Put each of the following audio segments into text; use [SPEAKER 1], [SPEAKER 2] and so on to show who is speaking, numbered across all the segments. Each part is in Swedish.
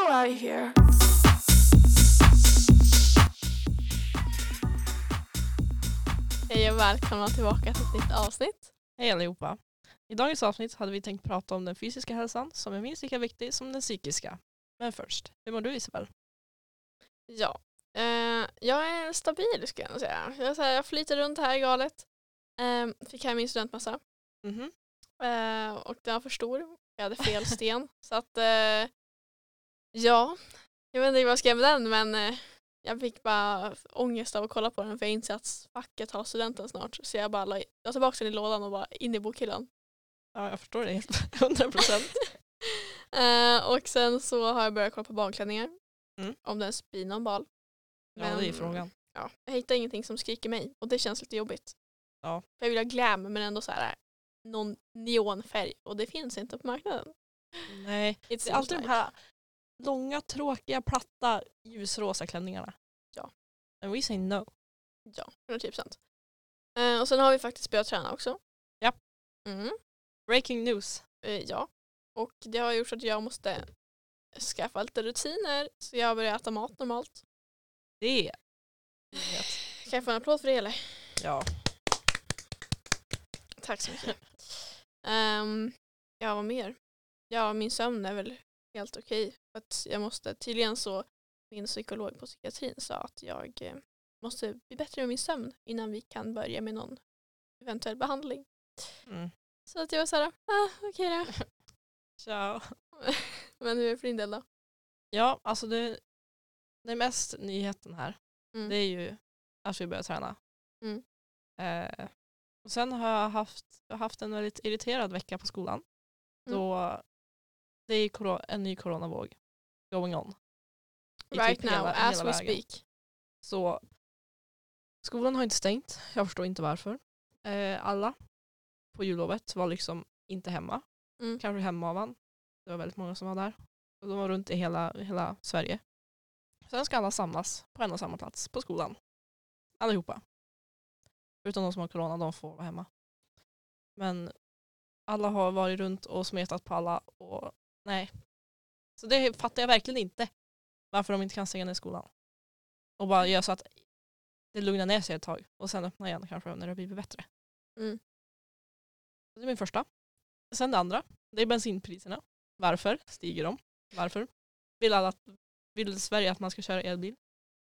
[SPEAKER 1] I hear.
[SPEAKER 2] Hej och välkomna tillbaka till ett nytt avsnitt.
[SPEAKER 3] Hej allihopa! I dagens avsnitt hade vi tänkt prata om den fysiska hälsan som är minst lika viktig som den psykiska. Men först, hur mår du Isabel?
[SPEAKER 2] Ja, eh, jag är stabil skulle jag nog säga. Jag, är så här, jag flyter runt här i galet. Eh, fick hem min studentmössa
[SPEAKER 3] Mhm.
[SPEAKER 2] eh, och den var för stor. Jag hade fel sten. så att eh, ja, jag vet inte vad jag ska göra med den men eh, jag fick bara ångest av att kolla på den för jag inser att facket har studenten snart. Så jag bara la jag tillbaka den i lådan och bara in i bokhyllan.
[SPEAKER 3] Ja, jag förstår dig helt. 100 procent.
[SPEAKER 2] Eh, och sen så har jag börjat kolla på balklänningar.
[SPEAKER 3] Mm.
[SPEAKER 2] Om det ens blir någon bal.
[SPEAKER 3] Ja, det är ju frågan.
[SPEAKER 2] Ja, jag hittar ingenting som skriker mig och det känns lite jobbigt.
[SPEAKER 3] Ja.
[SPEAKER 2] För jag vill ha glam men ändå så här någon neonfärg och det finns inte på marknaden.
[SPEAKER 3] Nej,
[SPEAKER 2] It
[SPEAKER 3] det är
[SPEAKER 2] seems
[SPEAKER 3] alltid de
[SPEAKER 2] like.
[SPEAKER 3] här långa, tråkiga, platta, ljusrosa klänningarna.
[SPEAKER 2] Ja.
[SPEAKER 3] And we say no.
[SPEAKER 2] Ja, 100 procent. Eh, och sen har vi faktiskt börjat träna också.
[SPEAKER 3] Ja.
[SPEAKER 2] Mm,
[SPEAKER 3] Breaking news.
[SPEAKER 2] eh, ja. Och det har gjort att jag måste skaffa lite rutiner så jag börjar äta mat normalt.
[SPEAKER 3] Det är...
[SPEAKER 2] Kan jag få en applåd för det eller?
[SPEAKER 3] Ja.
[SPEAKER 2] Tack så mycket. Ehm, ja, vad mer? Ja, min sömn är väl helt okej. För att jag måste, tydligen så, min psykolog på psykiatrin sa att jag eh, måste bli bättre med min sömn innan vi kan börja med någon eventuell behandling.
[SPEAKER 3] Mm.
[SPEAKER 2] Så att jag var såhär, ah, okej då.
[SPEAKER 3] Ciao.
[SPEAKER 2] Men hur är det för din del då?
[SPEAKER 3] Ja, alltså det, det är mest nyheten här.
[SPEAKER 2] Mm.
[SPEAKER 3] Det är ju att vi börjar träna.
[SPEAKER 2] Mm.
[SPEAKER 3] Eh, och sen har jag haft, jag har haft en väldigt irriterad vecka på skolan.
[SPEAKER 2] Mm.
[SPEAKER 3] Då det är coro- en ny coronavåg going on. I typ
[SPEAKER 2] Right now,
[SPEAKER 3] hela-
[SPEAKER 2] as
[SPEAKER 3] hela
[SPEAKER 2] we
[SPEAKER 3] vägen.
[SPEAKER 2] speak.
[SPEAKER 3] Så skolan har inte stängt. Jag förstår inte varför. Eh, alla på jullovet var liksom inte hemma.
[SPEAKER 2] Mm.
[SPEAKER 3] Kanske hemavan. Det var väldigt många som var där. Och de var runt i hela, hela Sverige. Sen ska alla samlas på en och samma plats på skolan. Allihopa. Utan de som har corona, de får vara hemma. Men alla har varit runt och smetat på alla och nej. Så det fattar jag verkligen inte. Varför de inte kan stänga ner skolan. Och bara göra så att det lugnar ner sig ett tag och sen öppna igen kanske när det har blivit bättre.
[SPEAKER 2] Mm.
[SPEAKER 3] Det är min första. Sen det andra, det är bensinpriserna. Varför stiger de? Varför? Vill, alla, att- vill Sverige att man ska köra elbil?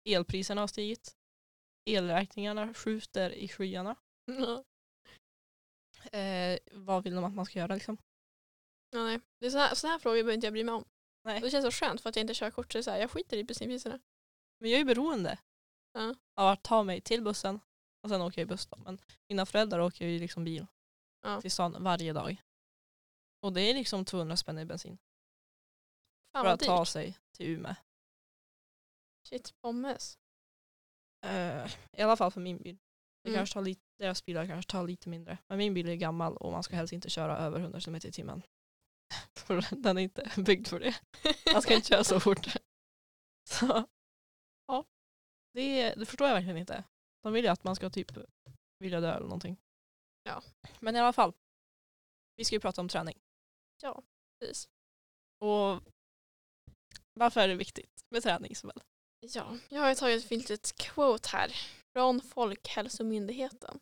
[SPEAKER 3] Elpriserna har stigit. Elräkningarna skjuter i skyarna. Eh, vad vill de att man ska göra liksom?
[SPEAKER 2] Ja, nej. Det är sådana här, såna här frågor behöver inte jag bry mig om.
[SPEAKER 3] Nej.
[SPEAKER 2] Det känns så skönt för att jag inte kör kort så, det är så här, jag skiter i bensinpriserna.
[SPEAKER 3] Men jag är ju beroende
[SPEAKER 2] Ja.
[SPEAKER 3] av att ta mig till bussen och sen åker jag i buss då. Men mina föräldrar åker ju liksom bil
[SPEAKER 2] Ja.
[SPEAKER 3] till stan varje dag. Och det är liksom 200 spänn i bensin
[SPEAKER 2] Fan
[SPEAKER 3] för
[SPEAKER 2] vad
[SPEAKER 3] att ta
[SPEAKER 2] dyrt.
[SPEAKER 3] sig till Umeå.
[SPEAKER 2] Shit, pommes.
[SPEAKER 3] Eh, I alla fall för min bil. Det
[SPEAKER 2] Mm.
[SPEAKER 3] kanske tar lite, deras bilar kanske tar lite mindre. Men min bil är gammal och man ska helst inte köra över 100 km i timmen. För den är inte byggd för det.
[SPEAKER 2] Mm.
[SPEAKER 3] Man ska inte köra så fort. Så, ja. det, det förstår jag verkligen inte. De vill ju att man ska typ vilja dö eller någonting.
[SPEAKER 2] Ja.
[SPEAKER 3] Men i alla fall. Vi ska ju prata om träning.
[SPEAKER 2] Precis.
[SPEAKER 3] Och varför är det viktigt med träning Isabel?
[SPEAKER 2] Ja, jag har ju tagit ett litet quote här från Folkhälsomyndigheten.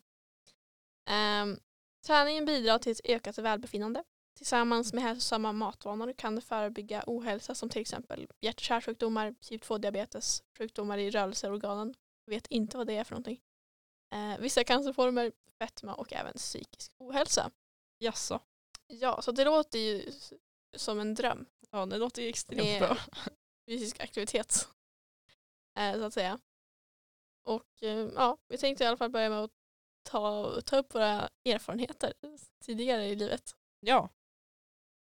[SPEAKER 2] Ehm, träningen bidrar till ett ökat välbefinnande. Tillsammans med hälsosamma matvanor kan det förebygga ohälsa som till exempel hjärt och kärlsjukdomar, typ 2-diabetes, sjukdomar i rörelseorganen. Jag vet inte vad det är för någonting. Eh, vissa cancerformer, fetma och även psykisk ohälsa.
[SPEAKER 3] Jaså?
[SPEAKER 2] Ja, så det låter ju s- som en dröm.
[SPEAKER 3] Ja, det låter ju extremt
[SPEAKER 2] Med
[SPEAKER 3] bra.
[SPEAKER 2] fysisk aktivitet. Eh, så att säga. Och eh, ja, vi tänkte i alla fall börja med att ta, ta upp våra erfarenheter tidigare i livet.
[SPEAKER 3] Ja.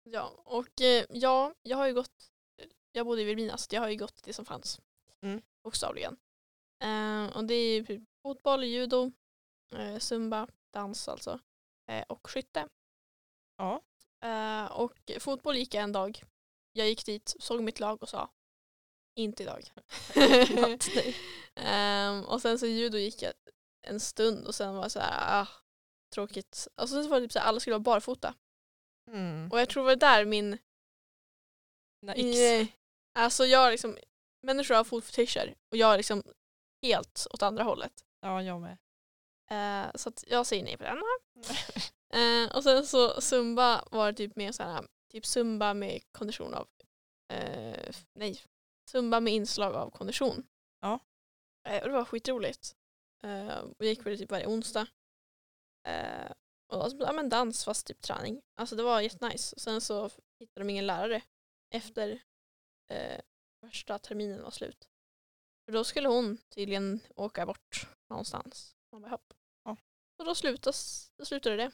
[SPEAKER 2] Ja, och eh, ja, jag har ju gått, jag bodde i Vilhelmina så jag har ju gått det som fanns.
[SPEAKER 3] Mm.
[SPEAKER 2] Bokstavligen. Eh, och det är ju typ fotboll, judo, eh, zumba, dans alltså. Eh, och skytte.
[SPEAKER 3] Ja.
[SPEAKER 2] Eh, och fotboll gick jag en dag. Jag gick dit, såg mitt lag och sa inte idag.
[SPEAKER 3] Knappt, nej.
[SPEAKER 2] Ehm, och sen så judo gick jag en stund och sen var jag så här, ah, tråkigt. Och sen så var det typ så här, alla skulle vara barfota.
[SPEAKER 3] Mm.
[SPEAKER 2] Och jag tror det var där min...
[SPEAKER 3] När X
[SPEAKER 2] Nej. Alltså jag har liksom, människor har fotfetischer och jag är liksom helt åt andra hållet.
[SPEAKER 3] Ja, jag med.
[SPEAKER 2] Eh, så att jag säger nej på den. Eh, och sen så Zumba var typ mer så här, typ Zumba med kondition av, eh, f- nej, Zumba med inslag av kondition.
[SPEAKER 3] Ja.
[SPEAKER 2] Eh, och det var skitroligt. Eh, och jag gick på det typ varje onsdag. Eh, och alltså, ja, men dans fast typ träning. Alltså det var jättenice. Och sen så hittade de ingen lärare efter eh, första terminen var slut. För då skulle hon tydligen åka bort någonstans. Man bara, hopp.
[SPEAKER 3] Ja.
[SPEAKER 2] Så då, slutas, då slutade det.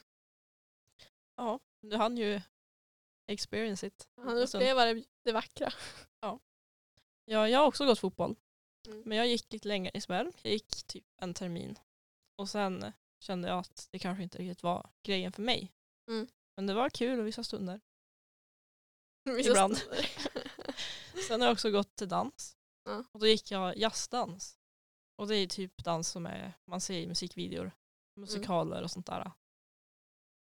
[SPEAKER 3] Ja, du hann ju experience it.
[SPEAKER 2] Han
[SPEAKER 3] Och sen-
[SPEAKER 2] upplever det, det vackra.
[SPEAKER 3] Ja, jag har också gått fotboll.
[SPEAKER 2] Mm.
[SPEAKER 3] Men jag gick lite längre i Sverige. Jag gick typ en termin. Och sen kände jag att det kanske inte riktigt var grejen för mig.
[SPEAKER 2] Mm.
[SPEAKER 3] Men det var kul och vissa stunder.
[SPEAKER 2] Vissa
[SPEAKER 3] Ibland.
[SPEAKER 2] stunder.
[SPEAKER 3] Sen har jag också gått till dans.
[SPEAKER 2] Ja.
[SPEAKER 3] Och då gick jag jazzdans. Och det är typ dans som är, man ser i musikvideor, musikaler och sånt där.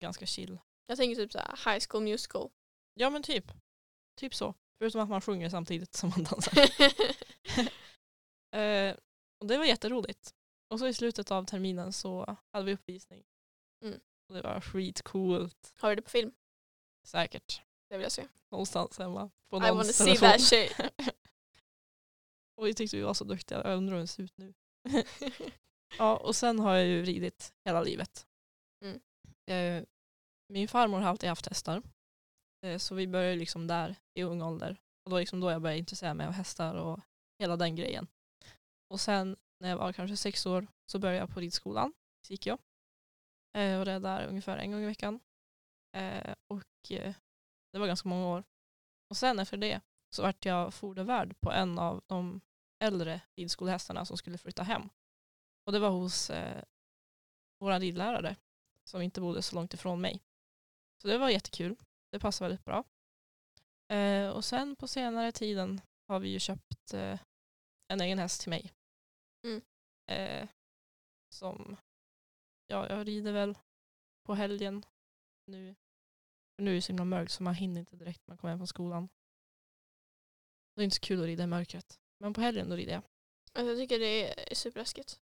[SPEAKER 3] Ganska chill.
[SPEAKER 2] jag tänker typ så här, high school musical.
[SPEAKER 3] Ja men typ. Typ så. Förutom att man sjunger samtidigt som man dansar. Eh, och det var jätteroligt. Och så i slutet av terminen så hade vi uppvisning.
[SPEAKER 2] Mm.
[SPEAKER 3] Och det var skitcoolt.
[SPEAKER 2] Har du det på film?
[SPEAKER 3] Säkert.
[SPEAKER 2] Det vill jag se.
[SPEAKER 3] Någonstans hemma. På
[SPEAKER 2] I wanna
[SPEAKER 3] någons
[SPEAKER 2] see
[SPEAKER 3] telefon.
[SPEAKER 2] that shit.
[SPEAKER 3] Och vi tyckte vi var så duktiga. Jag undrar hur den ser ut nu. Ja, och sen har jag ju ridit hela livet.
[SPEAKER 2] Mm.
[SPEAKER 3] Eh, min farmor har alltid haft hästar. Eh, så vi började liksom där i ung ålder. Och då liksom då jag började intressera mig av hästar och hela den grejen. Och sen när jag var kanske sex år så började jag på ridskolan. Så gick jag. Eh, och det är där ungefär en gång i veckan. Eh, och eh, det var ganska många år. Och sen efter det så vart jag fodervärd på en av de äldre ridskolehästarna som skulle flytta hem. Och det var hos eh, vår ridlärare som inte bodde så långt ifrån mig. Så det var jättekul. Det passade väldigt bra. Eh, och sen på senare tiden har vi ju köpt eh, en egen häst till mig.
[SPEAKER 2] Mm.
[SPEAKER 3] Eh, som, ja jag rider väl på helgen nu. För nu är det så himla mörkt så man hinner inte direkt när man kommer hem från skolan. Det är inte så kul att rida i mörkret. Men på helgen då rider jag.
[SPEAKER 2] Alltså, jag tycker det är superläskigt.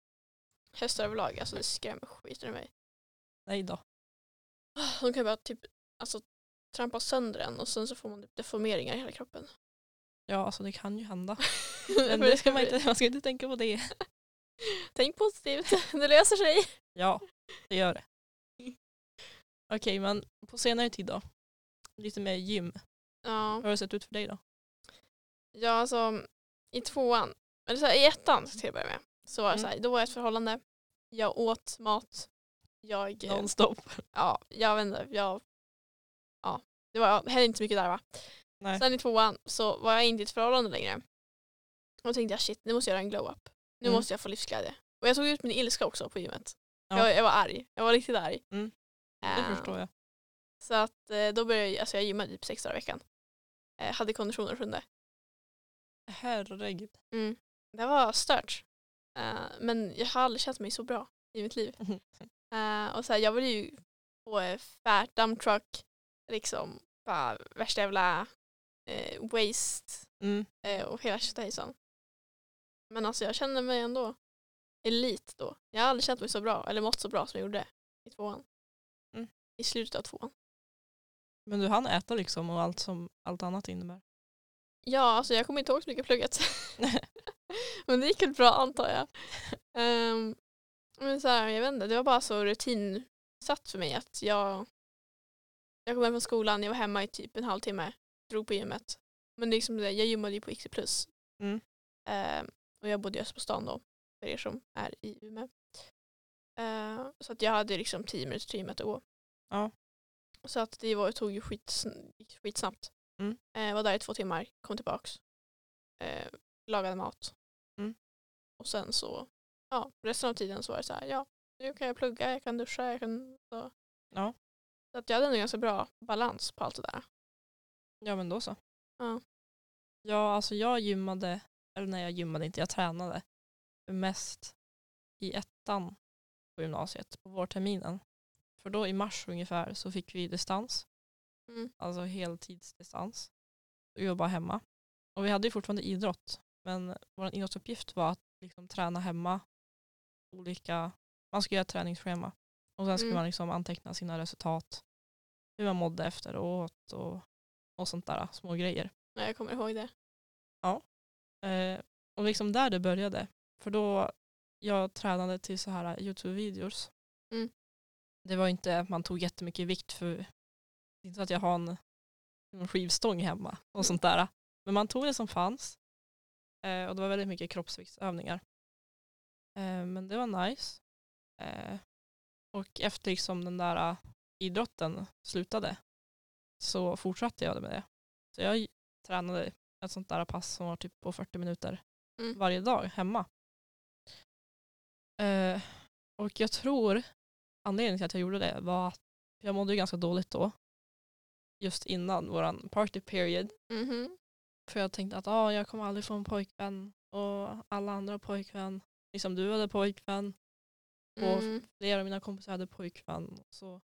[SPEAKER 2] Hästar överlag, alltså det skrämmer skiten ur mig.
[SPEAKER 3] Nej då.
[SPEAKER 2] De kan bara typ alltså, trampa sönder en och sen så får man typ deformeringar i hela kroppen.
[SPEAKER 3] Ja alltså det kan ju hända.
[SPEAKER 2] Men
[SPEAKER 3] Men det ska man, inte, man ska inte tänka på det.
[SPEAKER 2] Tänk positivt, det löser sig.
[SPEAKER 3] Ja, det gör det. Okej, men på senare tid då? Lite mer gym.
[SPEAKER 2] Ja.
[SPEAKER 3] Hur har det sett ut för dig då?
[SPEAKER 2] Ja, alltså i tvåan, eller så här, i ettan till att börja med, så var det
[SPEAKER 3] Mm.
[SPEAKER 2] så här, då var jag i ett förhållande. Jag åt mat. Jag, eh,
[SPEAKER 3] Nonstop.
[SPEAKER 2] ja, jag vet inte, jag, ja, det var heller inte så mycket där va.
[SPEAKER 3] Nej.
[SPEAKER 2] Sen i tvåan så var jag inte i ett förhållande längre. Och då tänkte jag shit, nu måste jag göra en glow-up. Nu
[SPEAKER 3] Mm.
[SPEAKER 2] måste jag få livsglädje. Och jag tog ut min ilska också på gymmet.
[SPEAKER 3] Ja.
[SPEAKER 2] Jag, jag var arg, jag var riktigt arg.
[SPEAKER 3] Mm.
[SPEAKER 2] Eh,
[SPEAKER 3] Det förstår jag.
[SPEAKER 2] så att eh, då började jag, alltså jag gymmade typ sex dagar i veckan. Eh, hade konditioner sjunde.
[SPEAKER 3] Herregud.
[SPEAKER 2] Mm. Det var stört. Eh, men jag har aldrig känt mig så bra i mitt liv.
[SPEAKER 3] Mhm.
[SPEAKER 2] Eh, och så här, jag ville ju få eh, fat dump truck, liksom bara värsta jävla eh, waste
[SPEAKER 3] Mm.
[SPEAKER 2] eh, och hela tjottahejsan. Men alltså jag kände mig ändå elit då. Jag har aldrig känt mig så bra, eller mått så bra som jag gjorde i tvåan.
[SPEAKER 3] Mm.
[SPEAKER 2] I slutet av tvåan.
[SPEAKER 3] Men du hann äta liksom och allt som allt annat innebär.
[SPEAKER 2] Ja, alltså jag kommer inte ihåg så mycket plugget. men det gick väl bra antar jag. Ehm, men så här, jag vet inte, det var bara så rutinsatt för mig att jag jag kom hem från skolan, jag var hemma i typ en halvtimme, drog på gymmet. Men det är liksom det, jag gymmade ju på XC+.
[SPEAKER 3] Mm.
[SPEAKER 2] Ehm, och jag bodde just på stan då, för er som är i Umeå. Ehm, så att jag hade liksom tio minuter till gymmet att gå.
[SPEAKER 3] Ja.
[SPEAKER 2] Så att det var, tog ju skitsn- gick skitsnabbt.
[SPEAKER 3] Mm.
[SPEAKER 2] Eh, var där i två timmar, kom tillbaks. Eh, lagade mat.
[SPEAKER 3] Mm.
[SPEAKER 2] Och sen så, ja, resten av tiden så var det så här, ja, nu kan jag plugga, jag kan duscha, jag kan så.
[SPEAKER 3] Ja.
[SPEAKER 2] Så att jag hade en ganska bra balans på allt det där.
[SPEAKER 3] Ja men då så.
[SPEAKER 2] Ja.
[SPEAKER 3] Ja alltså jag gymmade, eller nej jag gymmade inte, jag tränade mest i ettan på gymnasiet på vårterminen. För då i mars ungefär så fick vi distans,
[SPEAKER 2] Mm.
[SPEAKER 3] alltså heltidsdistans. Vi var bara hemma. Och vi hade ju fortfarande idrott, men vår idrottsuppgift var att liksom träna hemma. Olika, man skulle göra ett träningsschema och sen skulle
[SPEAKER 2] Mm.
[SPEAKER 3] man liksom anteckna sina resultat, hur man mådde efteråt och, och sånt där små grejer.
[SPEAKER 2] Ja, jag kommer ihåg det.
[SPEAKER 3] Eh, och liksom där det började. För då jag tränade till så här Youtube-videos.
[SPEAKER 2] Mm.
[SPEAKER 3] Det var inte att man tog jättemycket vikt för det är inte så att jag har en, en skivstång hemma och sånt där. Men man tog det som fanns. Eh, och det var väldigt mycket kroppsviktsövningar. Eh, men det var nice. Eh, och efter liksom den där eh, idrotten slutade så fortsatte jag med det. Så jag tränade ett sånt där pass som var typ på 40 minuter
[SPEAKER 2] Mm.
[SPEAKER 3] varje dag hemma. Eh, och jag tror anledningen till att jag gjorde det var att jag mådde ju ganska dåligt då. Just innan våran party period.
[SPEAKER 2] Mhm.
[SPEAKER 3] För jag tänkte att ah, jag kommer aldrig få en pojkvän och alla andra har pojkvän. Liksom du hade pojkvän och
[SPEAKER 2] Mm.
[SPEAKER 3] flera av mina kompisar hade pojkvän. Så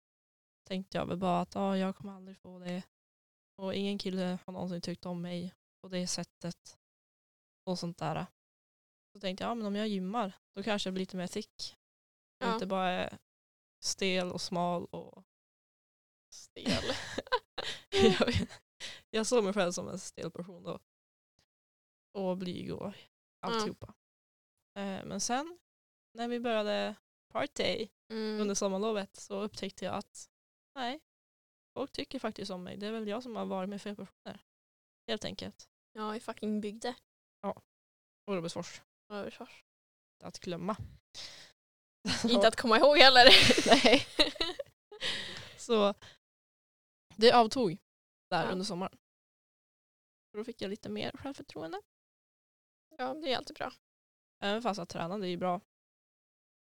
[SPEAKER 3] tänkte jag väl bara att ah, jag kommer aldrig få det. Och ingen kille har någonsin tyckt om mig på det sättet. Och sånt där. Så tänkte jag, ah, men om jag gymmar då kanske jag blir lite mer thick. och
[SPEAKER 2] Ja.
[SPEAKER 3] Inte bara är stel och smal. Och...
[SPEAKER 2] Stel.
[SPEAKER 3] jag, vet- jag såg mig själv som en stel person då. Och blyg och alltihopa. Eh, men sen när vi började party
[SPEAKER 2] Mm.
[SPEAKER 3] under sommarlovet så upptäckte jag att nej, folk tycker faktiskt om mig. Det är väl jag som har varit med fel personer. Helt enkelt.
[SPEAKER 2] Ja, i fucking bygder.
[SPEAKER 3] Och Robertsfors.
[SPEAKER 2] Och Översfors.
[SPEAKER 3] Att glömma.
[SPEAKER 2] Inte att komma ihåg heller.
[SPEAKER 3] Nej. så det avtog där
[SPEAKER 2] Ja.
[SPEAKER 3] under sommaren. Så Då fick jag lite mer självförtroende.
[SPEAKER 2] ja, det är alltid bra.
[SPEAKER 3] Även fast att tränande är ju bra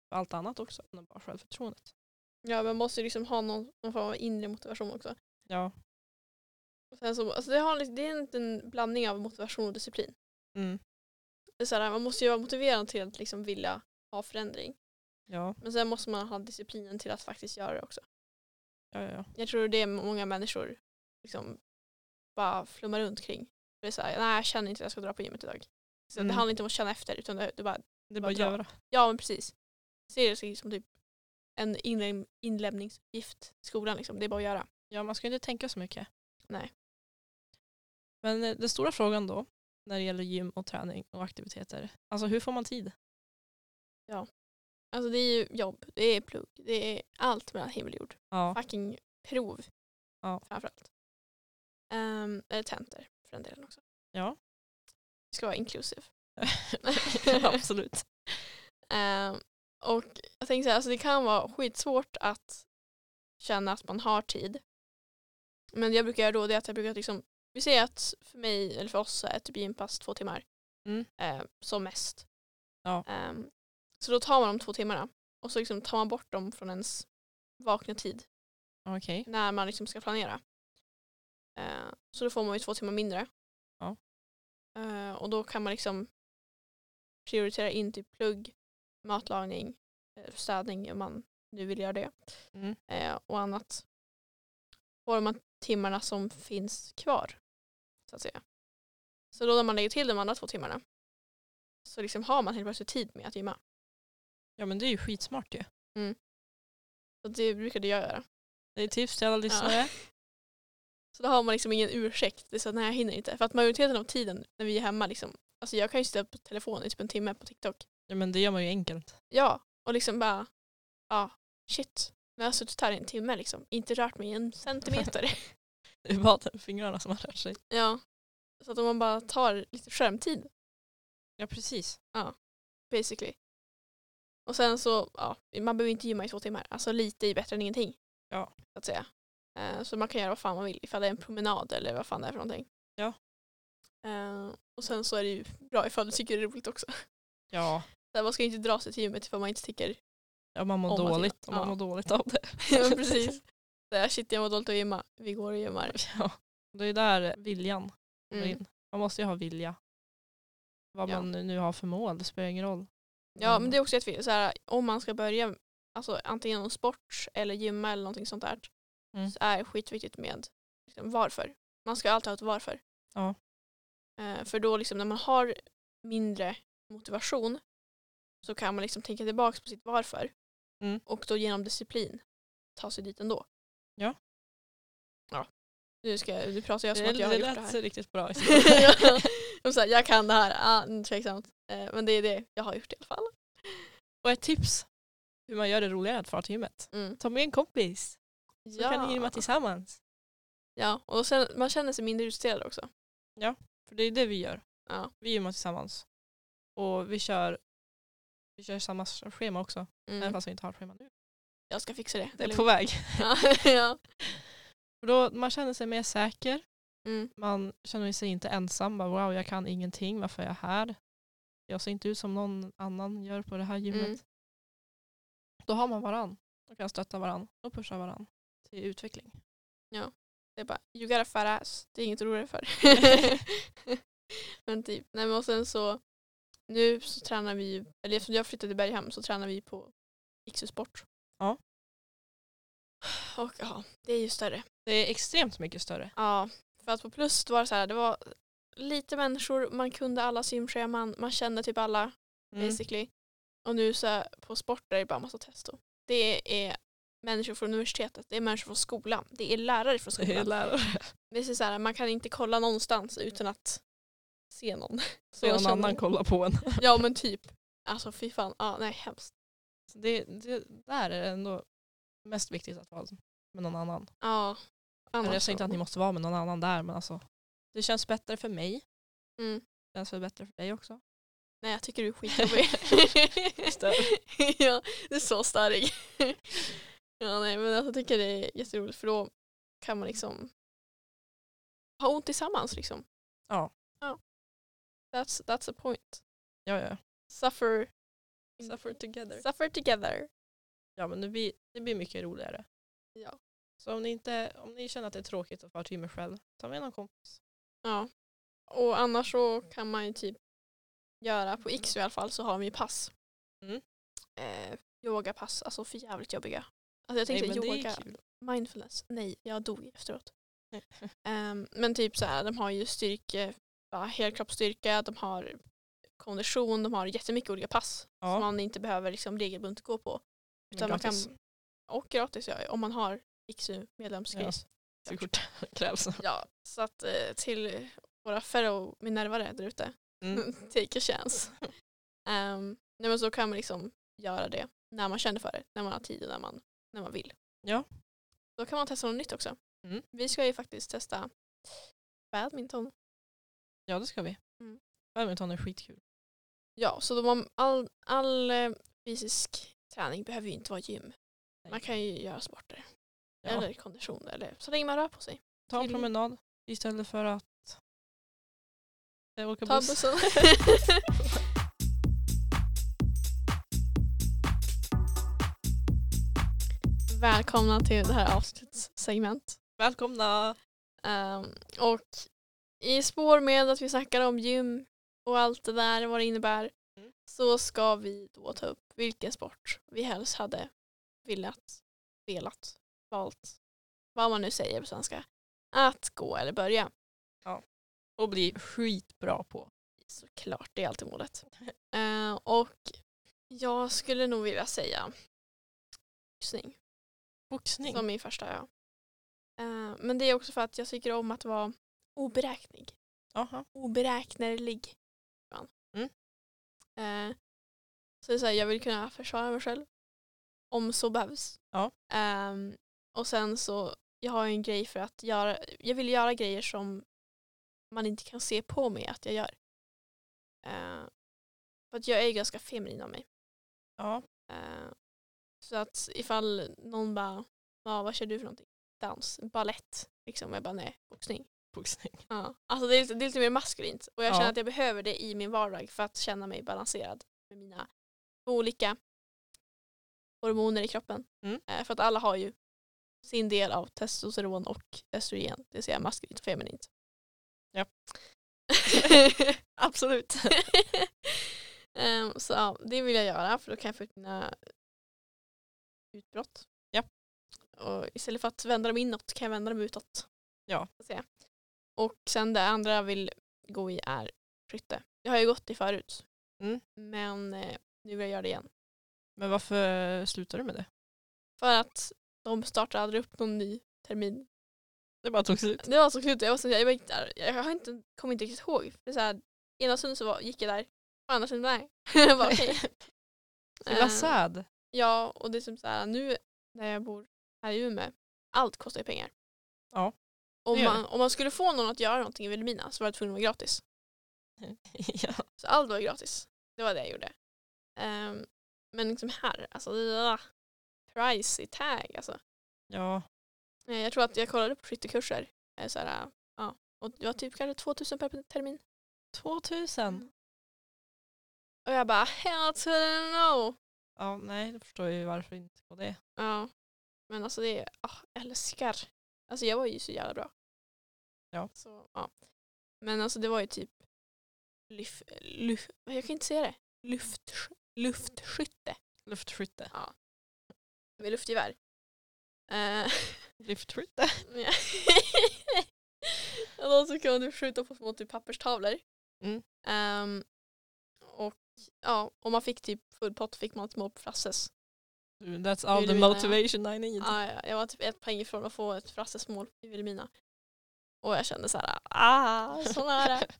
[SPEAKER 3] för allt annat också än bara självförtroendet.
[SPEAKER 2] Ja, man måste ju liksom ha någon, någon form av inre motivation också.
[SPEAKER 3] Ja.
[SPEAKER 2] Och sen så, alltså det, har, lite- det är en liten blandning av motivation och disciplin.
[SPEAKER 3] Mm.
[SPEAKER 2] Det är så här, man måste ju vara motiverad till att liksom vilja ha förändring.
[SPEAKER 3] Ja.
[SPEAKER 2] Men sen måste man ha disciplinen till att faktiskt göra det också.
[SPEAKER 3] Ja, ja, ja.
[SPEAKER 2] Jag tror det är många människor liksom bara flummar runt kring. Det är så här, nej jag känner inte att jag ska dra på gymmet idag. Så
[SPEAKER 3] Mm.
[SPEAKER 2] Det handlar inte om att känna efter utan det, det är bara,
[SPEAKER 3] Det är bara
[SPEAKER 2] Vad
[SPEAKER 3] att
[SPEAKER 2] bra.
[SPEAKER 3] göra.
[SPEAKER 2] ja men precis. Ser det som typ en inläm- inlämningsuppgift i skolan liksom. Det är bara att göra.
[SPEAKER 3] Ja, man ska ju inte tänka så mycket.
[SPEAKER 2] Nej.
[SPEAKER 3] Men eh, den stora frågan då, när det gäller gym och träning och aktiviteter, alltså hur får man tid?
[SPEAKER 2] Alltså det är ju jobb, det är plugg, det är allt mellan himmel och jord.
[SPEAKER 3] Ja,
[SPEAKER 2] Fucking prov
[SPEAKER 3] Ja.
[SPEAKER 2] framförallt. Ehm, eller tentor för den delen också.
[SPEAKER 3] ja.
[SPEAKER 2] Det ska vara inclusive.
[SPEAKER 3] absolut.
[SPEAKER 2] Ehm, och jag tänker så här, alltså det kan vara skitsvårt att känna att man har tid. Men det jag brukar göra då det är att jag brukar liksom, vi säger att för mig eller för oss så är typ gympass två timmar
[SPEAKER 3] Mm.
[SPEAKER 2] ehm, som mest.
[SPEAKER 3] Ja.
[SPEAKER 2] Ehm, så då tar man de två timmarna och så liksom tar man bort dem från ens vakna tid
[SPEAKER 3] Okej.
[SPEAKER 2] när man liksom ska planera. Eh, så då får man ju två timmar mindre.
[SPEAKER 3] Ja.
[SPEAKER 2] Eh, och då kan man liksom prioritera in typ plugg, matlagning, eh, städning om man nu vill göra det
[SPEAKER 3] Mm.
[SPEAKER 2] eh, och annat. Får man timmarna som finns kvar. Så att säga. Så då när man lägger till de andra två timmarna så liksom har man helt plötsligt tid med att gymma.
[SPEAKER 3] Ja, men det är ju skitsmart ju.
[SPEAKER 2] Och det brukade jag göra.
[SPEAKER 3] Det är tips till alla lyssnare.
[SPEAKER 2] Så då har man liksom ingen ursäkt. Det är så att nej jag hinner inte. För att majoriteten av tiden när vi är hemma liksom, alltså jag kan ju sitta på telefonen i typ en timme på TikTok.
[SPEAKER 3] Ja, men det gör man ju enkelt.
[SPEAKER 2] Ja, och liksom bara, ja, shit. Nu har jag suttit här i en timme liksom, inte rört mig en centimeter.
[SPEAKER 3] Det är bara fingrarna som har rört sig.
[SPEAKER 2] ja. Så att om man bara tar lite skärmtid
[SPEAKER 3] Ja, precis.
[SPEAKER 2] basically. Och sen så, ja, man behöver inte gymma i två timmar. Alltså lite är bättre än ingenting.
[SPEAKER 3] Ja.
[SPEAKER 2] Så att säga. Eh, Så man kan göra vad fan man vill, ifall det är en promenad eller vad fan det är för någonting.
[SPEAKER 3] Ja.
[SPEAKER 2] Eh, Och sen så är det ju bra ifall du tycker det är roligt också.
[SPEAKER 3] Ja,
[SPEAKER 2] Så här, man ska ju inte dra sig till gymmet ifall man inte tycker
[SPEAKER 3] ja man mår
[SPEAKER 2] Om man
[SPEAKER 3] dåligt.
[SPEAKER 2] tycker-
[SPEAKER 3] Om man
[SPEAKER 2] ja.
[SPEAKER 3] mår dåligt av det.
[SPEAKER 2] Ja, precis. Så här, shit jag mår dåligt att gymma, vi går och gymmar.
[SPEAKER 3] Ja. Det är där viljan kommer
[SPEAKER 2] Mm.
[SPEAKER 3] in. Man måste ju ha vilja. Vad
[SPEAKER 2] Ja.
[SPEAKER 3] man nu- nu har för mål, det spelar ingen roll.
[SPEAKER 2] Ja
[SPEAKER 3] Mm.
[SPEAKER 2] men det är också jätteviktigt, så här, om man ska börja alltså, antingen någon sport eller gymma eller någonting sånt där
[SPEAKER 3] Mm.
[SPEAKER 2] så är det skitviktigt med liksom, varför. Man ska alltid ha ett varför.
[SPEAKER 3] Ja.
[SPEAKER 2] Eh, för då liksom när man har mindre motivation så kan man liksom tänka tillbaka på sitt varför.
[SPEAKER 3] Mm.
[SPEAKER 2] Och då genom disciplin ta sig dit ändå.
[SPEAKER 3] Ja.
[SPEAKER 2] Ja. Nu, ska, jag- nu pratar jag som
[SPEAKER 3] det
[SPEAKER 2] att jag har
[SPEAKER 3] det
[SPEAKER 2] gjort det
[SPEAKER 3] lät
[SPEAKER 2] här.
[SPEAKER 3] riktigt bra.
[SPEAKER 2] Ja. De säger jag kan det här, ah, mm, tveksamt. Eh, Men det är det jag har gjort i alla fall.
[SPEAKER 3] och ett tips hur man gör det roligare att fara till gymmet.
[SPEAKER 2] Mm.
[SPEAKER 3] Ta med en kompis. Så kan ni gymma tillsammans.
[SPEAKER 2] ja, och sen, man känner sig mindre utstuderad också.
[SPEAKER 3] För det är det vi gör.
[SPEAKER 2] Ja.
[SPEAKER 3] Vi gymmar tillsammans. Och vi kör, vi kör samma schema också. Även
[SPEAKER 2] Mm.
[SPEAKER 3] fast vi inte har ett schema nu.
[SPEAKER 2] Jag ska fixa det.
[SPEAKER 3] Det
[SPEAKER 2] eller hur?
[SPEAKER 3] är på väg.
[SPEAKER 2] ja. ja.
[SPEAKER 3] För då, man känner sig mer säker.
[SPEAKER 2] Mm.
[SPEAKER 3] Man känner sig inte ensam. Bara, wow, jag kan ingenting. Varför är jag här? Jag ser inte ut som någon annan gör på det här gymmet.
[SPEAKER 2] Mm.
[SPEAKER 3] Då har man varann. Då kan stötta varann och pusha varann till utveckling.
[SPEAKER 2] Det är bara, you gotta fat ass. Det är inget att oroa dig för. men typ, nej men och sen så, nu så tränar vi ju, eller eftersom jag flyttade till Berghem så tränar vi på XU Sport.
[SPEAKER 3] Ja.
[SPEAKER 2] Och ja, det är ju större.
[SPEAKER 3] Det är extremt mycket större.
[SPEAKER 2] Ja, för att på plus var det så här, det var lite människor, man kunde alla simscheman, man kände typ alla
[SPEAKER 3] Mm.
[SPEAKER 2] basically. Och nu så här, på sport där är det bara massa testo. Det är människor från universitetet, det är människor från skolan, det är lärare från
[SPEAKER 3] Det är
[SPEAKER 2] skolan.
[SPEAKER 3] lärare.
[SPEAKER 2] Det är så här, man kan inte kolla någonstans utan att se någon.
[SPEAKER 3] Så någon
[SPEAKER 2] känner-
[SPEAKER 3] annan kollar på en.
[SPEAKER 2] Ja men typ. Alltså fy fan, ja, nej hemskt.
[SPEAKER 3] Så det, det där är det ändå mest viktigt att vara med någon annan.
[SPEAKER 2] Ja.
[SPEAKER 3] Eller
[SPEAKER 2] annars
[SPEAKER 3] jag säger inte
[SPEAKER 2] så-
[SPEAKER 3] att ni måste vara med någon annan där men alltså det känns bättre för mig.
[SPEAKER 2] Mm.
[SPEAKER 3] Det känns väl bättre för dig också.
[SPEAKER 2] Nej jag tycker du är skitjobbig.
[SPEAKER 3] Stör.
[SPEAKER 2] ja, du är så störig. ja, nej, men alltså, jag tycker det är jätteroligt för då kan man liksom ha ont tillsammans liksom.
[SPEAKER 3] Ja.
[SPEAKER 2] ja. That's, that's the point.
[SPEAKER 3] Ja, ja.
[SPEAKER 2] Suffer,
[SPEAKER 3] Suffer together.
[SPEAKER 2] suffer together.
[SPEAKER 3] Ja men det blir, det blir mycket roligare.
[SPEAKER 2] Ja.
[SPEAKER 3] Så om ni, inte, om ni känner att det är tråkigt att vara timme själv, ta med någon kompis.
[SPEAKER 2] Ja. Och annars så kan man ju typ göra, på X i alla fall så har vi ju pass.
[SPEAKER 3] Mm.
[SPEAKER 2] Eh, yogapass, alltså för jävligt jobbiga. Alltså jag tänkte
[SPEAKER 3] Nej, men det
[SPEAKER 2] yoga,
[SPEAKER 3] är kul.
[SPEAKER 2] mindfulness, nej jag dog efteråt. Ehm, men typ så här, de har ju styrke, ja, helkroppsstyrka, de har kondition, de har jättemycket olika pass som
[SPEAKER 3] Ja,
[SPEAKER 2] man inte behöver liksom regelbundet gå på.
[SPEAKER 3] men
[SPEAKER 2] Utan man kan,
[SPEAKER 3] gratis.
[SPEAKER 2] och gratis ja, om man har XU medlemskris.
[SPEAKER 3] Körkort krävs.
[SPEAKER 2] Ja. så att eh, till våra ferro minervare där ute,
[SPEAKER 3] Mm.
[SPEAKER 2] take a chance. Ehm, nej, men så kan man liksom göra det när man känner för det, när man har tid och när man, när man vill.
[SPEAKER 3] Ja.
[SPEAKER 2] Då kan man testa något nytt också.
[SPEAKER 3] Mm.
[SPEAKER 2] Vi ska ju faktiskt testa badminton.
[SPEAKER 3] Ja det ska vi.
[SPEAKER 2] Mm.
[SPEAKER 3] Badminton är skitkul.
[SPEAKER 2] Ja, så då man, all, all eh, fysisk träning behöver ju inte vara gym.
[SPEAKER 3] Nej.
[SPEAKER 2] Man kan ju göra sporter
[SPEAKER 3] Ja.
[SPEAKER 2] eller kondition eller så länge man rör på sig.
[SPEAKER 3] Ta en
[SPEAKER 2] Till-
[SPEAKER 3] promenad istället för att eh, åka
[SPEAKER 2] Ta
[SPEAKER 3] buss.
[SPEAKER 2] bussen. Välkomna till det här avsnittets segment.
[SPEAKER 3] Välkomna!
[SPEAKER 2] Ehm, och i spår med att vi snackar om gym och allt det där, vad det innebär,
[SPEAKER 3] Mm.
[SPEAKER 2] så ska vi då ta upp vilken sport vi helst hade velat, velat, valt, vad man nu säger på svenska, att gå eller börja.
[SPEAKER 3] Och bli skitbra på.
[SPEAKER 2] Såklart, det är alltid målet. Eh, och jag skulle nog vilja säga boxning
[SPEAKER 3] Boxning.
[SPEAKER 2] som min första. Ja. Eh, men det är också för att jag tycker om att vara oberäknig.
[SPEAKER 3] Aha.
[SPEAKER 2] Oberäknerlig. Fan.
[SPEAKER 3] Mm.
[SPEAKER 2] Eh, så det är så här, jag vill kunna försvara mig själv om så behövs.
[SPEAKER 3] Ja.
[SPEAKER 2] Eh, och sen så, jag har ju en grej för att göra, jag vill göra grejer som man inte kan se på mig att jag gör. Eh, för att jag är ju ganska feminin av mig.
[SPEAKER 3] Ja.
[SPEAKER 2] Eh, så att ifall någon bara, ja vad kör du för någonting? Dans, ballett. Liksom, jag bara nej, boxning.
[SPEAKER 3] Boxning.
[SPEAKER 2] Ja. Alltså det är, lite, det är lite mer maskulint och jag
[SPEAKER 3] Ja.
[SPEAKER 2] känner att jag behöver det i min vardag för att känna mig balanserad med mina olika hormoner i kroppen.
[SPEAKER 3] Mm.
[SPEAKER 2] Eh, för att alla har ju sin del av testosteron och östrogen, det vill säga maskulint och feminint.
[SPEAKER 3] Ja.
[SPEAKER 2] Absolut. Ehm, så ja, det vill jag göra för då kan jag få ut mina utbrott.
[SPEAKER 3] Ja.
[SPEAKER 2] Och istället för att vända dem inåt kan jag vända dem utåt.
[SPEAKER 3] Ja.
[SPEAKER 2] Så att säga. Och sen det andra jag vill gå i är skytte. Jag har ju gått i förut.
[SPEAKER 3] Mm.
[SPEAKER 2] Men eh, nu vill jag göra det igen.
[SPEAKER 3] Men varför slutar du med det?
[SPEAKER 2] För att de startade aldrig upp någon ny termin.
[SPEAKER 3] Det bara tog slut.
[SPEAKER 2] Det var så slut. Jag, var så, jag, var inte där. jag har inte, kommer inte riktigt ihåg. För så här, ena stunden så var, gick jag där, och andra stunden där. jag bara, okej.
[SPEAKER 3] Det var
[SPEAKER 2] Eh,
[SPEAKER 3] sad.
[SPEAKER 2] Ja, och det är som så här, nu när jag bor här i Umeå, allt kostar ju pengar.
[SPEAKER 3] Ja, det
[SPEAKER 2] Om
[SPEAKER 3] gör
[SPEAKER 2] man, om man skulle få någon att göra någonting i Vilhelmina så var det tvungen att vara gratis.
[SPEAKER 3] ja.
[SPEAKER 2] Så allt var gratis. Det var det jag gjorde. Ehm, men liksom här, alltså ja, price i tag alltså.
[SPEAKER 3] ja.
[SPEAKER 2] Eh, Jag tror att jag kollade på skyttekurser. eh, Så här, ja, och det var typ kanske 2000 per termin.
[SPEAKER 3] 2000.
[SPEAKER 2] Och jag bara, hell to the no.
[SPEAKER 3] Ja, nej, då förstår jag ju varför inte på det.
[SPEAKER 2] Ja, men alltså det är, ah, jag älskar. Alltså jag var ju så jävla bra.
[SPEAKER 3] Ja.
[SPEAKER 2] Så, ja. Men alltså det var ju typ lyf, lyf, jag kan inte säga det. Luft, luftskytte
[SPEAKER 3] Luftskytte.
[SPEAKER 2] med luftgevär. Eh,
[SPEAKER 3] Luftskytte?
[SPEAKER 2] Ja. Och då så kan du skjuta på små typ papperstavlor.
[SPEAKER 3] Mm.
[SPEAKER 2] Ehm, och ja, om man fick typ full pott fick man små frasses.
[SPEAKER 3] That's all
[SPEAKER 2] Vill
[SPEAKER 3] the
[SPEAKER 2] du veta?
[SPEAKER 3] motivation I need.
[SPEAKER 2] Ja, ja, jag var typ ett poäng ifrån att få ett frassesmål i Vilhelmina. Och jag kände så här, ah, så nära.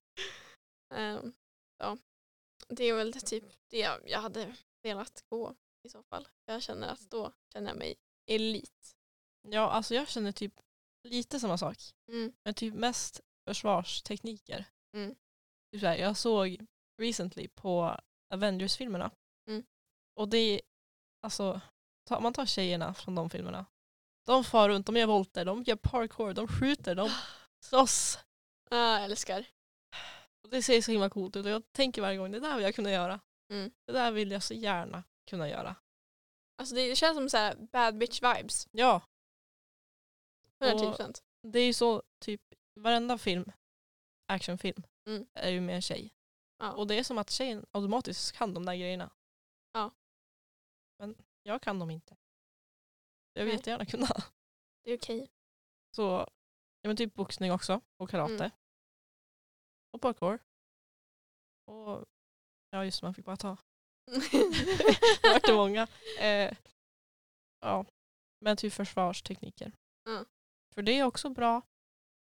[SPEAKER 2] Ehm, ja. Det är väl typ det jag jag hade velat gå i så fall. Jag känner att då känner jag mig elit.
[SPEAKER 3] Ja, alltså jag känner typ lite samma sak.
[SPEAKER 2] Mm.
[SPEAKER 3] Men typ mest försvarstekniker.
[SPEAKER 2] Mm.
[SPEAKER 3] Typ så här, jag såg recently på Avengers-filmerna.
[SPEAKER 2] Mm.
[SPEAKER 3] Och det är, alltså, ta, man tar tjejerna från de filmerna. De far runt, de gör volter, de gör parkour, de skjuter, de slåss.
[SPEAKER 2] Ja, jag älskar.
[SPEAKER 3] Och det ser så himla coolt ut och jag tänker varje gång, det där vill jag kunna göra.
[SPEAKER 2] Mm.
[SPEAKER 3] Det där vill jag så gärna kunna göra.
[SPEAKER 2] Alltså det, det känns som så här bad bitch vibes.
[SPEAKER 3] Ja,
[SPEAKER 2] 110
[SPEAKER 3] Och-
[SPEAKER 2] procent.
[SPEAKER 3] det är ju så typ varenda film, actionfilm,
[SPEAKER 2] Mm.
[SPEAKER 3] är ju med en tjej.
[SPEAKER 2] Ja.
[SPEAKER 3] Och det är som att tjejen automatiskt kan de där grejerna.
[SPEAKER 2] Ja.
[SPEAKER 3] Men jag kan dem inte. Jag vill
[SPEAKER 2] Nej.
[SPEAKER 3] jättegärna kunna.
[SPEAKER 2] Det är okej.
[SPEAKER 3] Så, ja men typ boxning också och karate.
[SPEAKER 2] Mm.
[SPEAKER 3] Och parkour. Och, ja just det, man fick bara ta. Det vart det många. Eh, ja. Men typ försvarstekniker.
[SPEAKER 2] Ja.
[SPEAKER 3] För det är också bra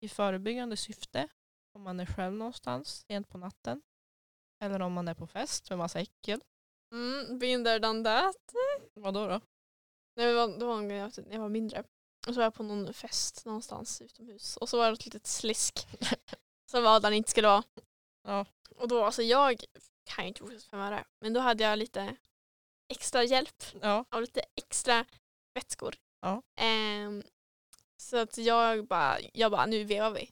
[SPEAKER 3] i förebyggande syfte om man är själv någonstans sent på natten. Eller om man är på fest med massa äckel.
[SPEAKER 2] mm, been there done that.
[SPEAKER 3] Vadå då?
[SPEAKER 2] Nej, men det, var, det var en gång jag, när jag var mindre. Och så var jag på någon fest någonstans utomhus. Och så var det ett litet slisk som var där det inte skulle vara.
[SPEAKER 3] Ja.
[SPEAKER 2] Och då, alltså jag kan ju inte fortsätta fem öre. Men då hade jag lite extra hjälp
[SPEAKER 3] Ja.
[SPEAKER 2] av lite extra vätskor.
[SPEAKER 3] Ja.
[SPEAKER 2] Ehm, så att jag bara, jag bara, nu vevar vi.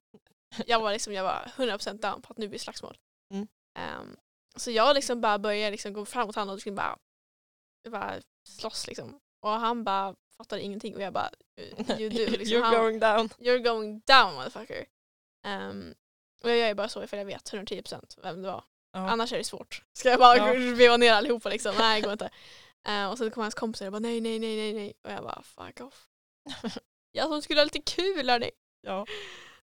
[SPEAKER 2] Jag var liksom, jag var 100% down på att nu blir det slagsmål.
[SPEAKER 3] Mm.
[SPEAKER 2] Ehm, så jag liksom bara började liksom gå fram mot honom och liksom bara, bara slåss liksom. Och han bara fattade ingenting och jag bara, you do. Liksom,
[SPEAKER 3] You're
[SPEAKER 2] han,
[SPEAKER 3] going down.
[SPEAKER 2] you're going down motherfucker. Ehm, och jag gör ju bara så ifall jag vet 110% vem det var.
[SPEAKER 3] Ja.
[SPEAKER 2] Annars är det svårt. Ska jag bara
[SPEAKER 3] Ja.
[SPEAKER 2] veva ner allihopa liksom? Nej, det går inte. Eh, och så kommer hans kompisar och bara nej, nej, nej, nej, nej. Och jag bara fuck off. Jag som skulle ha lite kul hörni.
[SPEAKER 3] ja.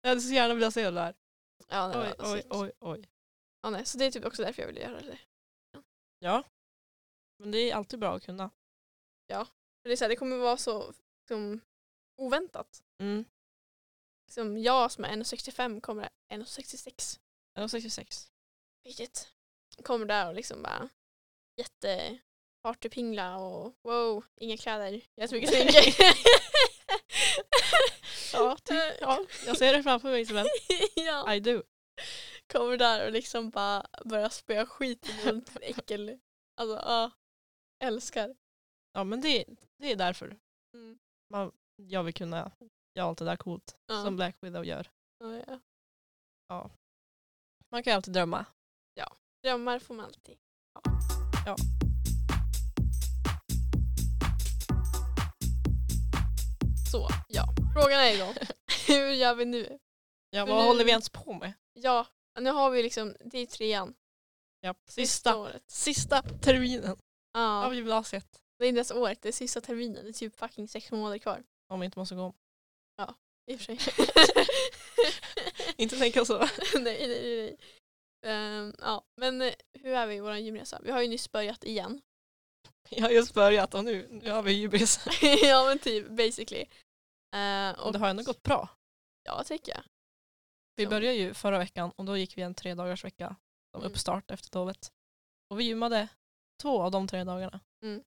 [SPEAKER 3] Jag hade så gärna velat se det där.
[SPEAKER 2] Ja, nej,
[SPEAKER 3] Oj,
[SPEAKER 2] men
[SPEAKER 3] oj,
[SPEAKER 2] alltså-
[SPEAKER 3] oj, oj.
[SPEAKER 2] Ja, nej, så det är typ också därför jag ville göra det.
[SPEAKER 3] Ja. Men det är alltid bra att kunna.
[SPEAKER 2] För det, är så här, det kommer vara så liksom, oväntat.
[SPEAKER 3] Mm.
[SPEAKER 2] Liksom, jag som är 1,65 kommer 1,66
[SPEAKER 3] Jag var 66.
[SPEAKER 2] Vilket kommer där och liksom bara jätte partypingla och wow, inga kläder, jättemycket smink.
[SPEAKER 3] Ja, typ. Ja, jag ser det framför mig som
[SPEAKER 2] ja.
[SPEAKER 3] I do.
[SPEAKER 2] kommer där och liksom bara börjar spöa skit mot äckel. Alltså ja, älskar.
[SPEAKER 3] Ja men det, det är därför.
[SPEAKER 2] Mm.
[SPEAKER 3] Man, jag vill kunna göra allt det där coolt
[SPEAKER 2] Ja.
[SPEAKER 3] som Black Widow gör.
[SPEAKER 2] Ja, ja.
[SPEAKER 3] Man kan ju alltid drömma.
[SPEAKER 2] Drömmar får man alltid.
[SPEAKER 3] Ja.
[SPEAKER 2] Så, ja. Frågan är ju då, hur gör vi nu?
[SPEAKER 3] Ja,
[SPEAKER 2] Men
[SPEAKER 3] vad
[SPEAKER 2] nu-
[SPEAKER 3] håller vi ens på med?
[SPEAKER 2] Ja, nu har vi liksom, det är trean.
[SPEAKER 3] Ja,
[SPEAKER 2] Sista
[SPEAKER 3] sista,
[SPEAKER 2] året.
[SPEAKER 3] sista terminen
[SPEAKER 2] Ja.
[SPEAKER 3] av gymnasiet.
[SPEAKER 2] Det är inte ens året, det är sista terminen. Det är typ fucking sex månader kvar.
[SPEAKER 3] Om vi inte måste gå om.
[SPEAKER 2] I och för sig.
[SPEAKER 3] Inte tänka så.
[SPEAKER 2] nej, nej, nej. nej. Ehm, ja, men eh, hur är vi i vår gymresa? Vi har ju nyss börjat igen.
[SPEAKER 3] Jag har just börjat och nu, nu har vi hybris.
[SPEAKER 2] ja men typ basically. Eh, och
[SPEAKER 3] Det har ändå gått bra.
[SPEAKER 2] Ja tycker jag.
[SPEAKER 3] Vi
[SPEAKER 2] Ja.
[SPEAKER 3] började ju förra veckan och då gick vi en tre dagars vecka som
[SPEAKER 2] Mm.
[SPEAKER 3] uppstart efter lovet. Och vi gymmade två av de tre dagarna.
[SPEAKER 2] Mm.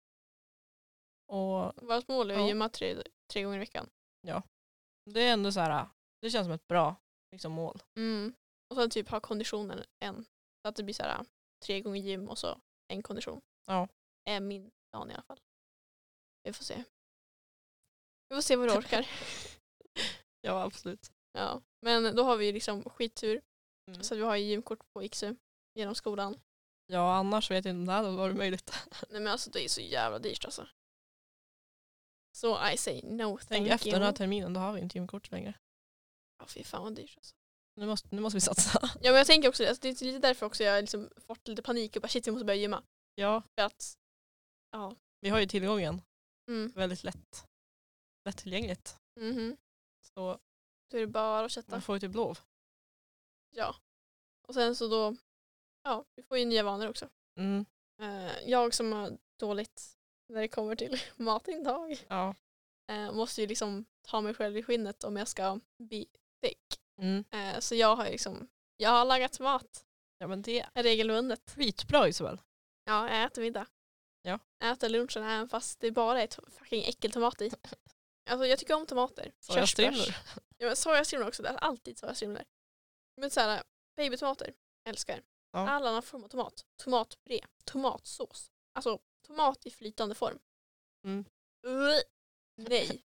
[SPEAKER 3] Och
[SPEAKER 2] Vårt mål är att
[SPEAKER 3] Ja.
[SPEAKER 2] gymma tre, tre gånger i veckan.
[SPEAKER 3] det är ändå så här, det känns som ett bra liksom, mål.
[SPEAKER 2] Mm. Och sen typ ha konditionen en. Så att det blir så här tre gånger gym och så en kondition.
[SPEAKER 3] Ja.
[SPEAKER 2] Är min plan i alla fall. Vi får se. Vi får se vad
[SPEAKER 3] Typ.
[SPEAKER 2] du orkar.
[SPEAKER 3] Ja, absolut.
[SPEAKER 2] ja. Men då har vi ju liksom skittur.
[SPEAKER 3] Mm.
[SPEAKER 2] Så att vi har ju gymkort på IXU genom skolan.
[SPEAKER 3] Ja, annars vet jag inte om det hade varit möjligt.
[SPEAKER 2] Nej men alltså det är så jävla dyrt alltså. Så I say no thank
[SPEAKER 3] Tänk
[SPEAKER 2] you.
[SPEAKER 3] efter den här terminen, då har vi inte gymkort längre.
[SPEAKER 2] Ja, fy fan vad dyrt alltså.
[SPEAKER 3] Nu måste, nu måste vi satsa.
[SPEAKER 2] Ja men jag tänker också det. alltså, det är lite därför också jag har liksom fått lite panik och bara shit jag måste börja gymma.
[SPEAKER 3] Ja,
[SPEAKER 2] För att, ja.
[SPEAKER 3] vi har ju tillgången
[SPEAKER 2] Mm.
[SPEAKER 3] väldigt lätt, lättillgängligt.
[SPEAKER 2] Mhm.
[SPEAKER 3] Så
[SPEAKER 2] Då är det bara att
[SPEAKER 3] man
[SPEAKER 2] chatta.
[SPEAKER 3] får ju typ lov.
[SPEAKER 2] Ja. Och sen så då, ja vi får ju nya vanor också.
[SPEAKER 3] Mm.
[SPEAKER 2] Eh, jag som har dåligt när det kommer till matintag
[SPEAKER 3] Ja.
[SPEAKER 2] eh, måste ju liksom ta mig själv i skinnet om jag ska bli thick.
[SPEAKER 3] Mm.
[SPEAKER 2] Eh, så jag har ju liksom, jag har lagat mat
[SPEAKER 3] ja, men det är
[SPEAKER 2] regelbundet.
[SPEAKER 3] skitbra Isabel.
[SPEAKER 2] Ja, jag äter middag.
[SPEAKER 3] Ja.
[SPEAKER 2] Jag äter lunchen även fast det bara är to- fucking äckeltomat i. Alltså jag tycker om tomater.
[SPEAKER 3] Körsbärs.
[SPEAKER 2] Körsbärs. Ja, men sojastrimlor också, det är alltid sojastrimlor. Men så här, babytomater, älskar.
[SPEAKER 3] Ja.
[SPEAKER 2] All annan form av tomat. Tomatpuré, tomatsås. Alltså tomat i flytande form.
[SPEAKER 3] Mm.
[SPEAKER 2] Ugh, nej.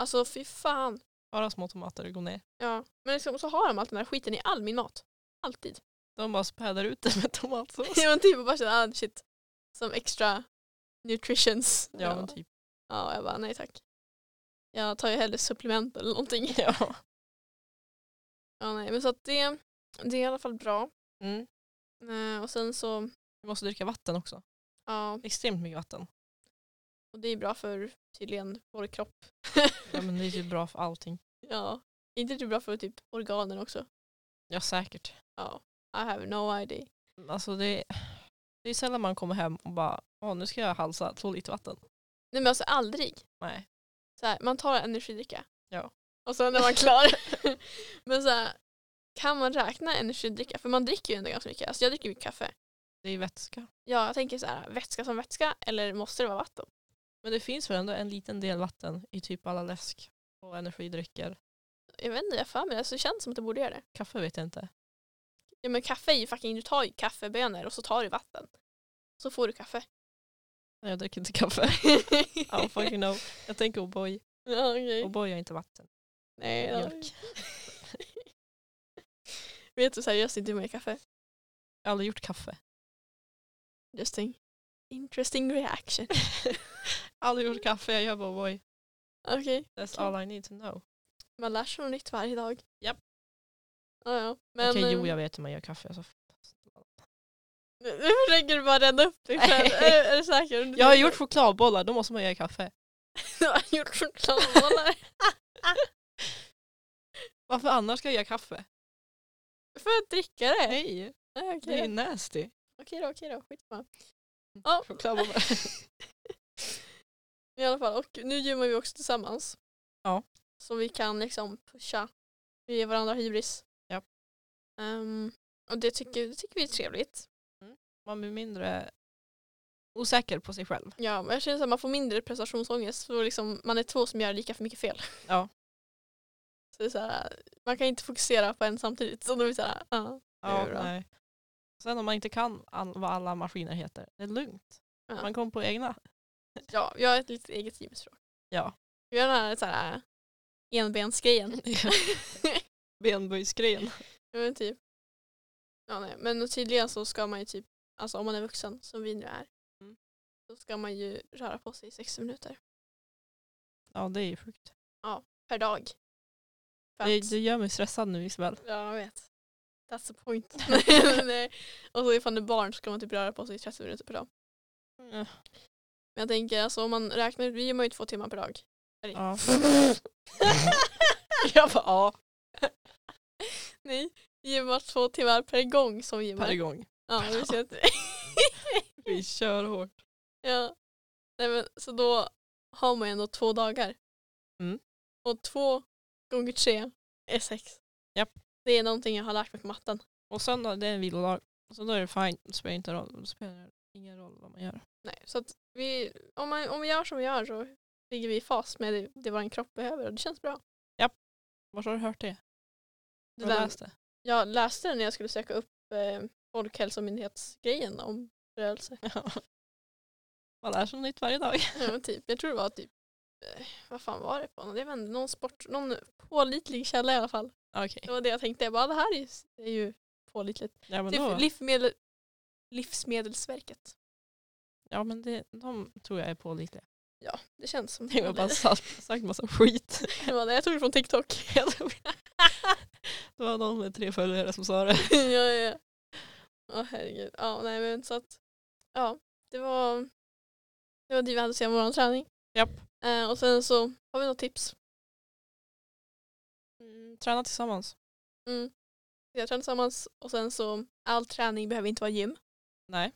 [SPEAKER 2] alltså fy fan.
[SPEAKER 3] Bara små tomater går ner.
[SPEAKER 2] Ja. Men liksom, så har de allt den där skiten i all min mat. Alltid.
[SPEAKER 3] De bara späder ut det med tomatsås.
[SPEAKER 2] Jag var typ och bara känner, ah, shit. Som extra nutritions.
[SPEAKER 3] ja, men typ.
[SPEAKER 2] ja, jag bara nej tack. Jag tar ju hellre supplement eller någonting.
[SPEAKER 3] Ja.
[SPEAKER 2] Ja, nej, men så att det, det är i alla fall bra.
[SPEAKER 3] Mm.
[SPEAKER 2] Eh, och sen så,
[SPEAKER 3] Vi måste dricka vatten också.
[SPEAKER 2] ja,
[SPEAKER 3] Extremt mycket vatten.
[SPEAKER 2] och det är bra för tydligen vår kropp.
[SPEAKER 3] Ja, men det är typ bra för allting.
[SPEAKER 2] ja, inte det bra för typ organen också?
[SPEAKER 3] Ja, säkert.
[SPEAKER 2] Ja, I have no idea.
[SPEAKER 3] Alltså det, det är sällan man kommer hem och bara, åh nu ska jag halsa två liter vatten.
[SPEAKER 2] Nej men alltså aldrig.
[SPEAKER 3] Nej.
[SPEAKER 2] Så här, man tar en energidricka.
[SPEAKER 3] Ja.
[SPEAKER 2] Och sen är man klar. men så här, kan man räkna energidricka? För man dricker ju ändå ganska mycket. Alltså jag dricker mycket kaffe.
[SPEAKER 3] Det är vätska.
[SPEAKER 2] Ja, jag tänker så här, vätska som vätska eller måste det vara vatten?
[SPEAKER 3] Men det finns väl ändå en liten del vatten i typ alla läsk och energidrycker.
[SPEAKER 2] Jag vet inte, jag har för mig det. Alltså, det känns som att det borde göra det.
[SPEAKER 3] Kaffe vet jag inte.
[SPEAKER 2] Ja men kaffe är ju fucking, du tar ju kaffebönor och så tar du vatten. Så får du kaffe.
[SPEAKER 3] Nej, jag dricker inte kaffe. I don't fucking know. Jag tänker O'boy.
[SPEAKER 2] Ja, okej.
[SPEAKER 3] O'boy är inte vatten.
[SPEAKER 2] Nej,
[SPEAKER 3] Mjölk.
[SPEAKER 2] Vet du seriöst inte hur mycket kaffe?
[SPEAKER 3] Jag har aldrig gjort kaffe.
[SPEAKER 2] Interesting. Interesting reaction.
[SPEAKER 3] Aldrig gjort kaffe, jag gör bara O'boy.
[SPEAKER 2] Okej,
[SPEAKER 3] That's
[SPEAKER 2] Okej.
[SPEAKER 3] all I need to know.
[SPEAKER 2] man lär sig något nytt varje dag.
[SPEAKER 3] Japp.
[SPEAKER 2] Ja, ja. Men
[SPEAKER 3] Okej,
[SPEAKER 2] eh,
[SPEAKER 3] jo jag vet hur man gör kaffe. Alltså.
[SPEAKER 2] nu nu försöker du bara rädda upp dig själv.
[SPEAKER 3] Nej.
[SPEAKER 2] är, är du säker?
[SPEAKER 3] Jag har gjort chokladbollar, då måste man göra kaffe.
[SPEAKER 2] du har gjort chokladbollar.
[SPEAKER 3] Varför annars ska jag göra kaffe?
[SPEAKER 2] För att dricka det?
[SPEAKER 3] Nej,
[SPEAKER 2] Nej,
[SPEAKER 3] det är
[SPEAKER 2] Okej
[SPEAKER 3] ju
[SPEAKER 2] då.
[SPEAKER 3] nasty.
[SPEAKER 2] Okej då, okej då. Skitsamma. Ja.
[SPEAKER 3] Mm. Chokladbollar.
[SPEAKER 2] I alla fall, och nu gymmar vi också tillsammans.
[SPEAKER 3] Ja.
[SPEAKER 2] Så vi kan liksom pusha. Vi ger varandra hybris.
[SPEAKER 3] Ja.
[SPEAKER 2] Ehm, och det tycker, det tycker vi är trevligt.
[SPEAKER 3] Man blir mindre osäker på sig själv.
[SPEAKER 2] Ja, men jag känner att man får mindre prestationsångest för liksom, man är två som gör lika för mycket fel.
[SPEAKER 3] Ja.
[SPEAKER 2] Så det är så här, man kan inte fokusera på en samtidigt. Så då blir det så här, ja.
[SPEAKER 3] Ja,
[SPEAKER 2] Det är bra.
[SPEAKER 3] nej. Sen om man inte kan all, vad alla maskiner heter, det är lugnt.
[SPEAKER 2] Ja.
[SPEAKER 3] Man kommer på egna.
[SPEAKER 2] ja, vi har ett litet eget gymspråk.
[SPEAKER 3] Ja.
[SPEAKER 2] Vi har den här, så här enbensgrejen.
[SPEAKER 3] Benböjsgrejen.
[SPEAKER 2] Ja men typ. Ja, nej. Men tydligen så ska man ju typ, alltså om man är vuxen som vi nu är,
[SPEAKER 3] Mm.
[SPEAKER 2] så ska man ju röra på sig i 60 minuter
[SPEAKER 3] Ja, det är ju sjukt.
[SPEAKER 2] per dag. För
[SPEAKER 3] Det,
[SPEAKER 2] att-
[SPEAKER 3] det gör mig stressad nu Isabel.
[SPEAKER 2] Ja jag vet. That's the point. Nej, nej. Och så ifall det är barn så ska man typ röra på sig i 30 minuter per dag. Mm. Men jag tänker alltså om man räknar ut, vi gymmar ju två timmar per dag.
[SPEAKER 3] Ja.
[SPEAKER 2] jag bara ja. Nej, gymmar två timmar per gång som
[SPEAKER 3] per
[SPEAKER 2] gymmar.
[SPEAKER 3] gång.
[SPEAKER 2] Ja, du ser att
[SPEAKER 3] Vi kör hårt.
[SPEAKER 2] Ja. Nej, men, så då har man ju ändå två dagar.
[SPEAKER 3] Mm.
[SPEAKER 2] Och två gånger tre är sex.
[SPEAKER 3] Japp.
[SPEAKER 2] Det är någonting jag har lärt mig på matten.
[SPEAKER 3] Och söndag det är en vilodag. Så då är det fine. Det spelar, inte roll. Det spelar ingen roll vad man gör.
[SPEAKER 2] Nej, så att vi, om, man, om vi gör som vi gör så ligger vi i fas med det, det vår kropp behöver och det känns bra.
[SPEAKER 3] Var har du hört det? Du
[SPEAKER 2] Det där-
[SPEAKER 3] läste?
[SPEAKER 2] Jag läste det när jag skulle söka upp eh, Folkhälsomyndighetsgrejen om rörelse.
[SPEAKER 3] Man lär sig något nytt varje dag.
[SPEAKER 2] Ja, men typ, jag tror det var typ, eh, vad fan var det på? Det var ändå någon sport, någon pålitlig källa i alla fall.
[SPEAKER 3] Okej.
[SPEAKER 2] Det var det jag tänkte, jag bara "Ah, det här är ju, är ju pålitligt.
[SPEAKER 3] Ja men,
[SPEAKER 2] Typ
[SPEAKER 3] då,
[SPEAKER 2] livsmedel, livsmedelsverket.
[SPEAKER 3] ja, men det, de tror jag är på lite.
[SPEAKER 2] Ja, det känns som
[SPEAKER 3] Jag har bara sagt, sagt massa skit.
[SPEAKER 2] Jag bara, Jag tog det från TikTok. Jag tog det.
[SPEAKER 3] Det var någon med tre följare som sa det.
[SPEAKER 2] ja, ja. Åh herregud. Ja, nej men så att, ja, det var det var det vi hade att säga om vår träning.
[SPEAKER 3] Japp.
[SPEAKER 2] Eh, och sen så har vi något tips.
[SPEAKER 3] Träna tillsammans.
[SPEAKER 2] Mm. Vi har tränat tillsammans och sen så, all träning behöver inte vara gym.
[SPEAKER 3] Nej.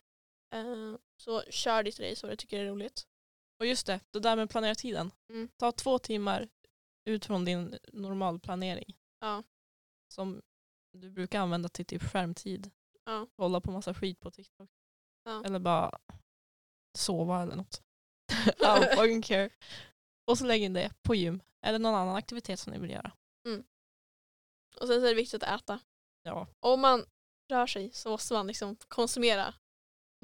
[SPEAKER 2] Eh, så kör ditt race vad du tycker är roligt.
[SPEAKER 3] Och just det, det där med att planera tiden.
[SPEAKER 2] Mm.
[SPEAKER 3] Ta två timmar ut från din normalplanering.
[SPEAKER 2] Ja.
[SPEAKER 3] Som du brukar använda till typ skärmtid.
[SPEAKER 2] Ja.
[SPEAKER 3] Kolla på massa skit på TikTok.
[SPEAKER 2] Ja.
[SPEAKER 3] Eller bara sova eller något. I don't fucking care. Och så lägg in det på gym. Eller någon annan aktivitet som ni vill göra.
[SPEAKER 2] Och sen så är det viktigt att äta.
[SPEAKER 3] Ja.
[SPEAKER 2] om man rör sig så måste man liksom konsumera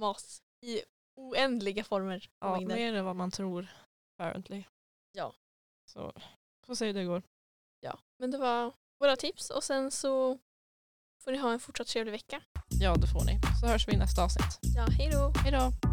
[SPEAKER 2] mat i oändliga former. och
[SPEAKER 3] Ja,
[SPEAKER 2] mängder.
[SPEAKER 3] mer än vad man tror. Apparently.
[SPEAKER 2] Ja.
[SPEAKER 3] Så får se hur det går.
[SPEAKER 2] ja. Men det var våra tips och sen så får ni ha en fortsatt trevlig vecka.
[SPEAKER 3] Ja, det får ni. Så hörs vi i nästa avsnitt.
[SPEAKER 2] Ja, hej då!
[SPEAKER 3] Hej då!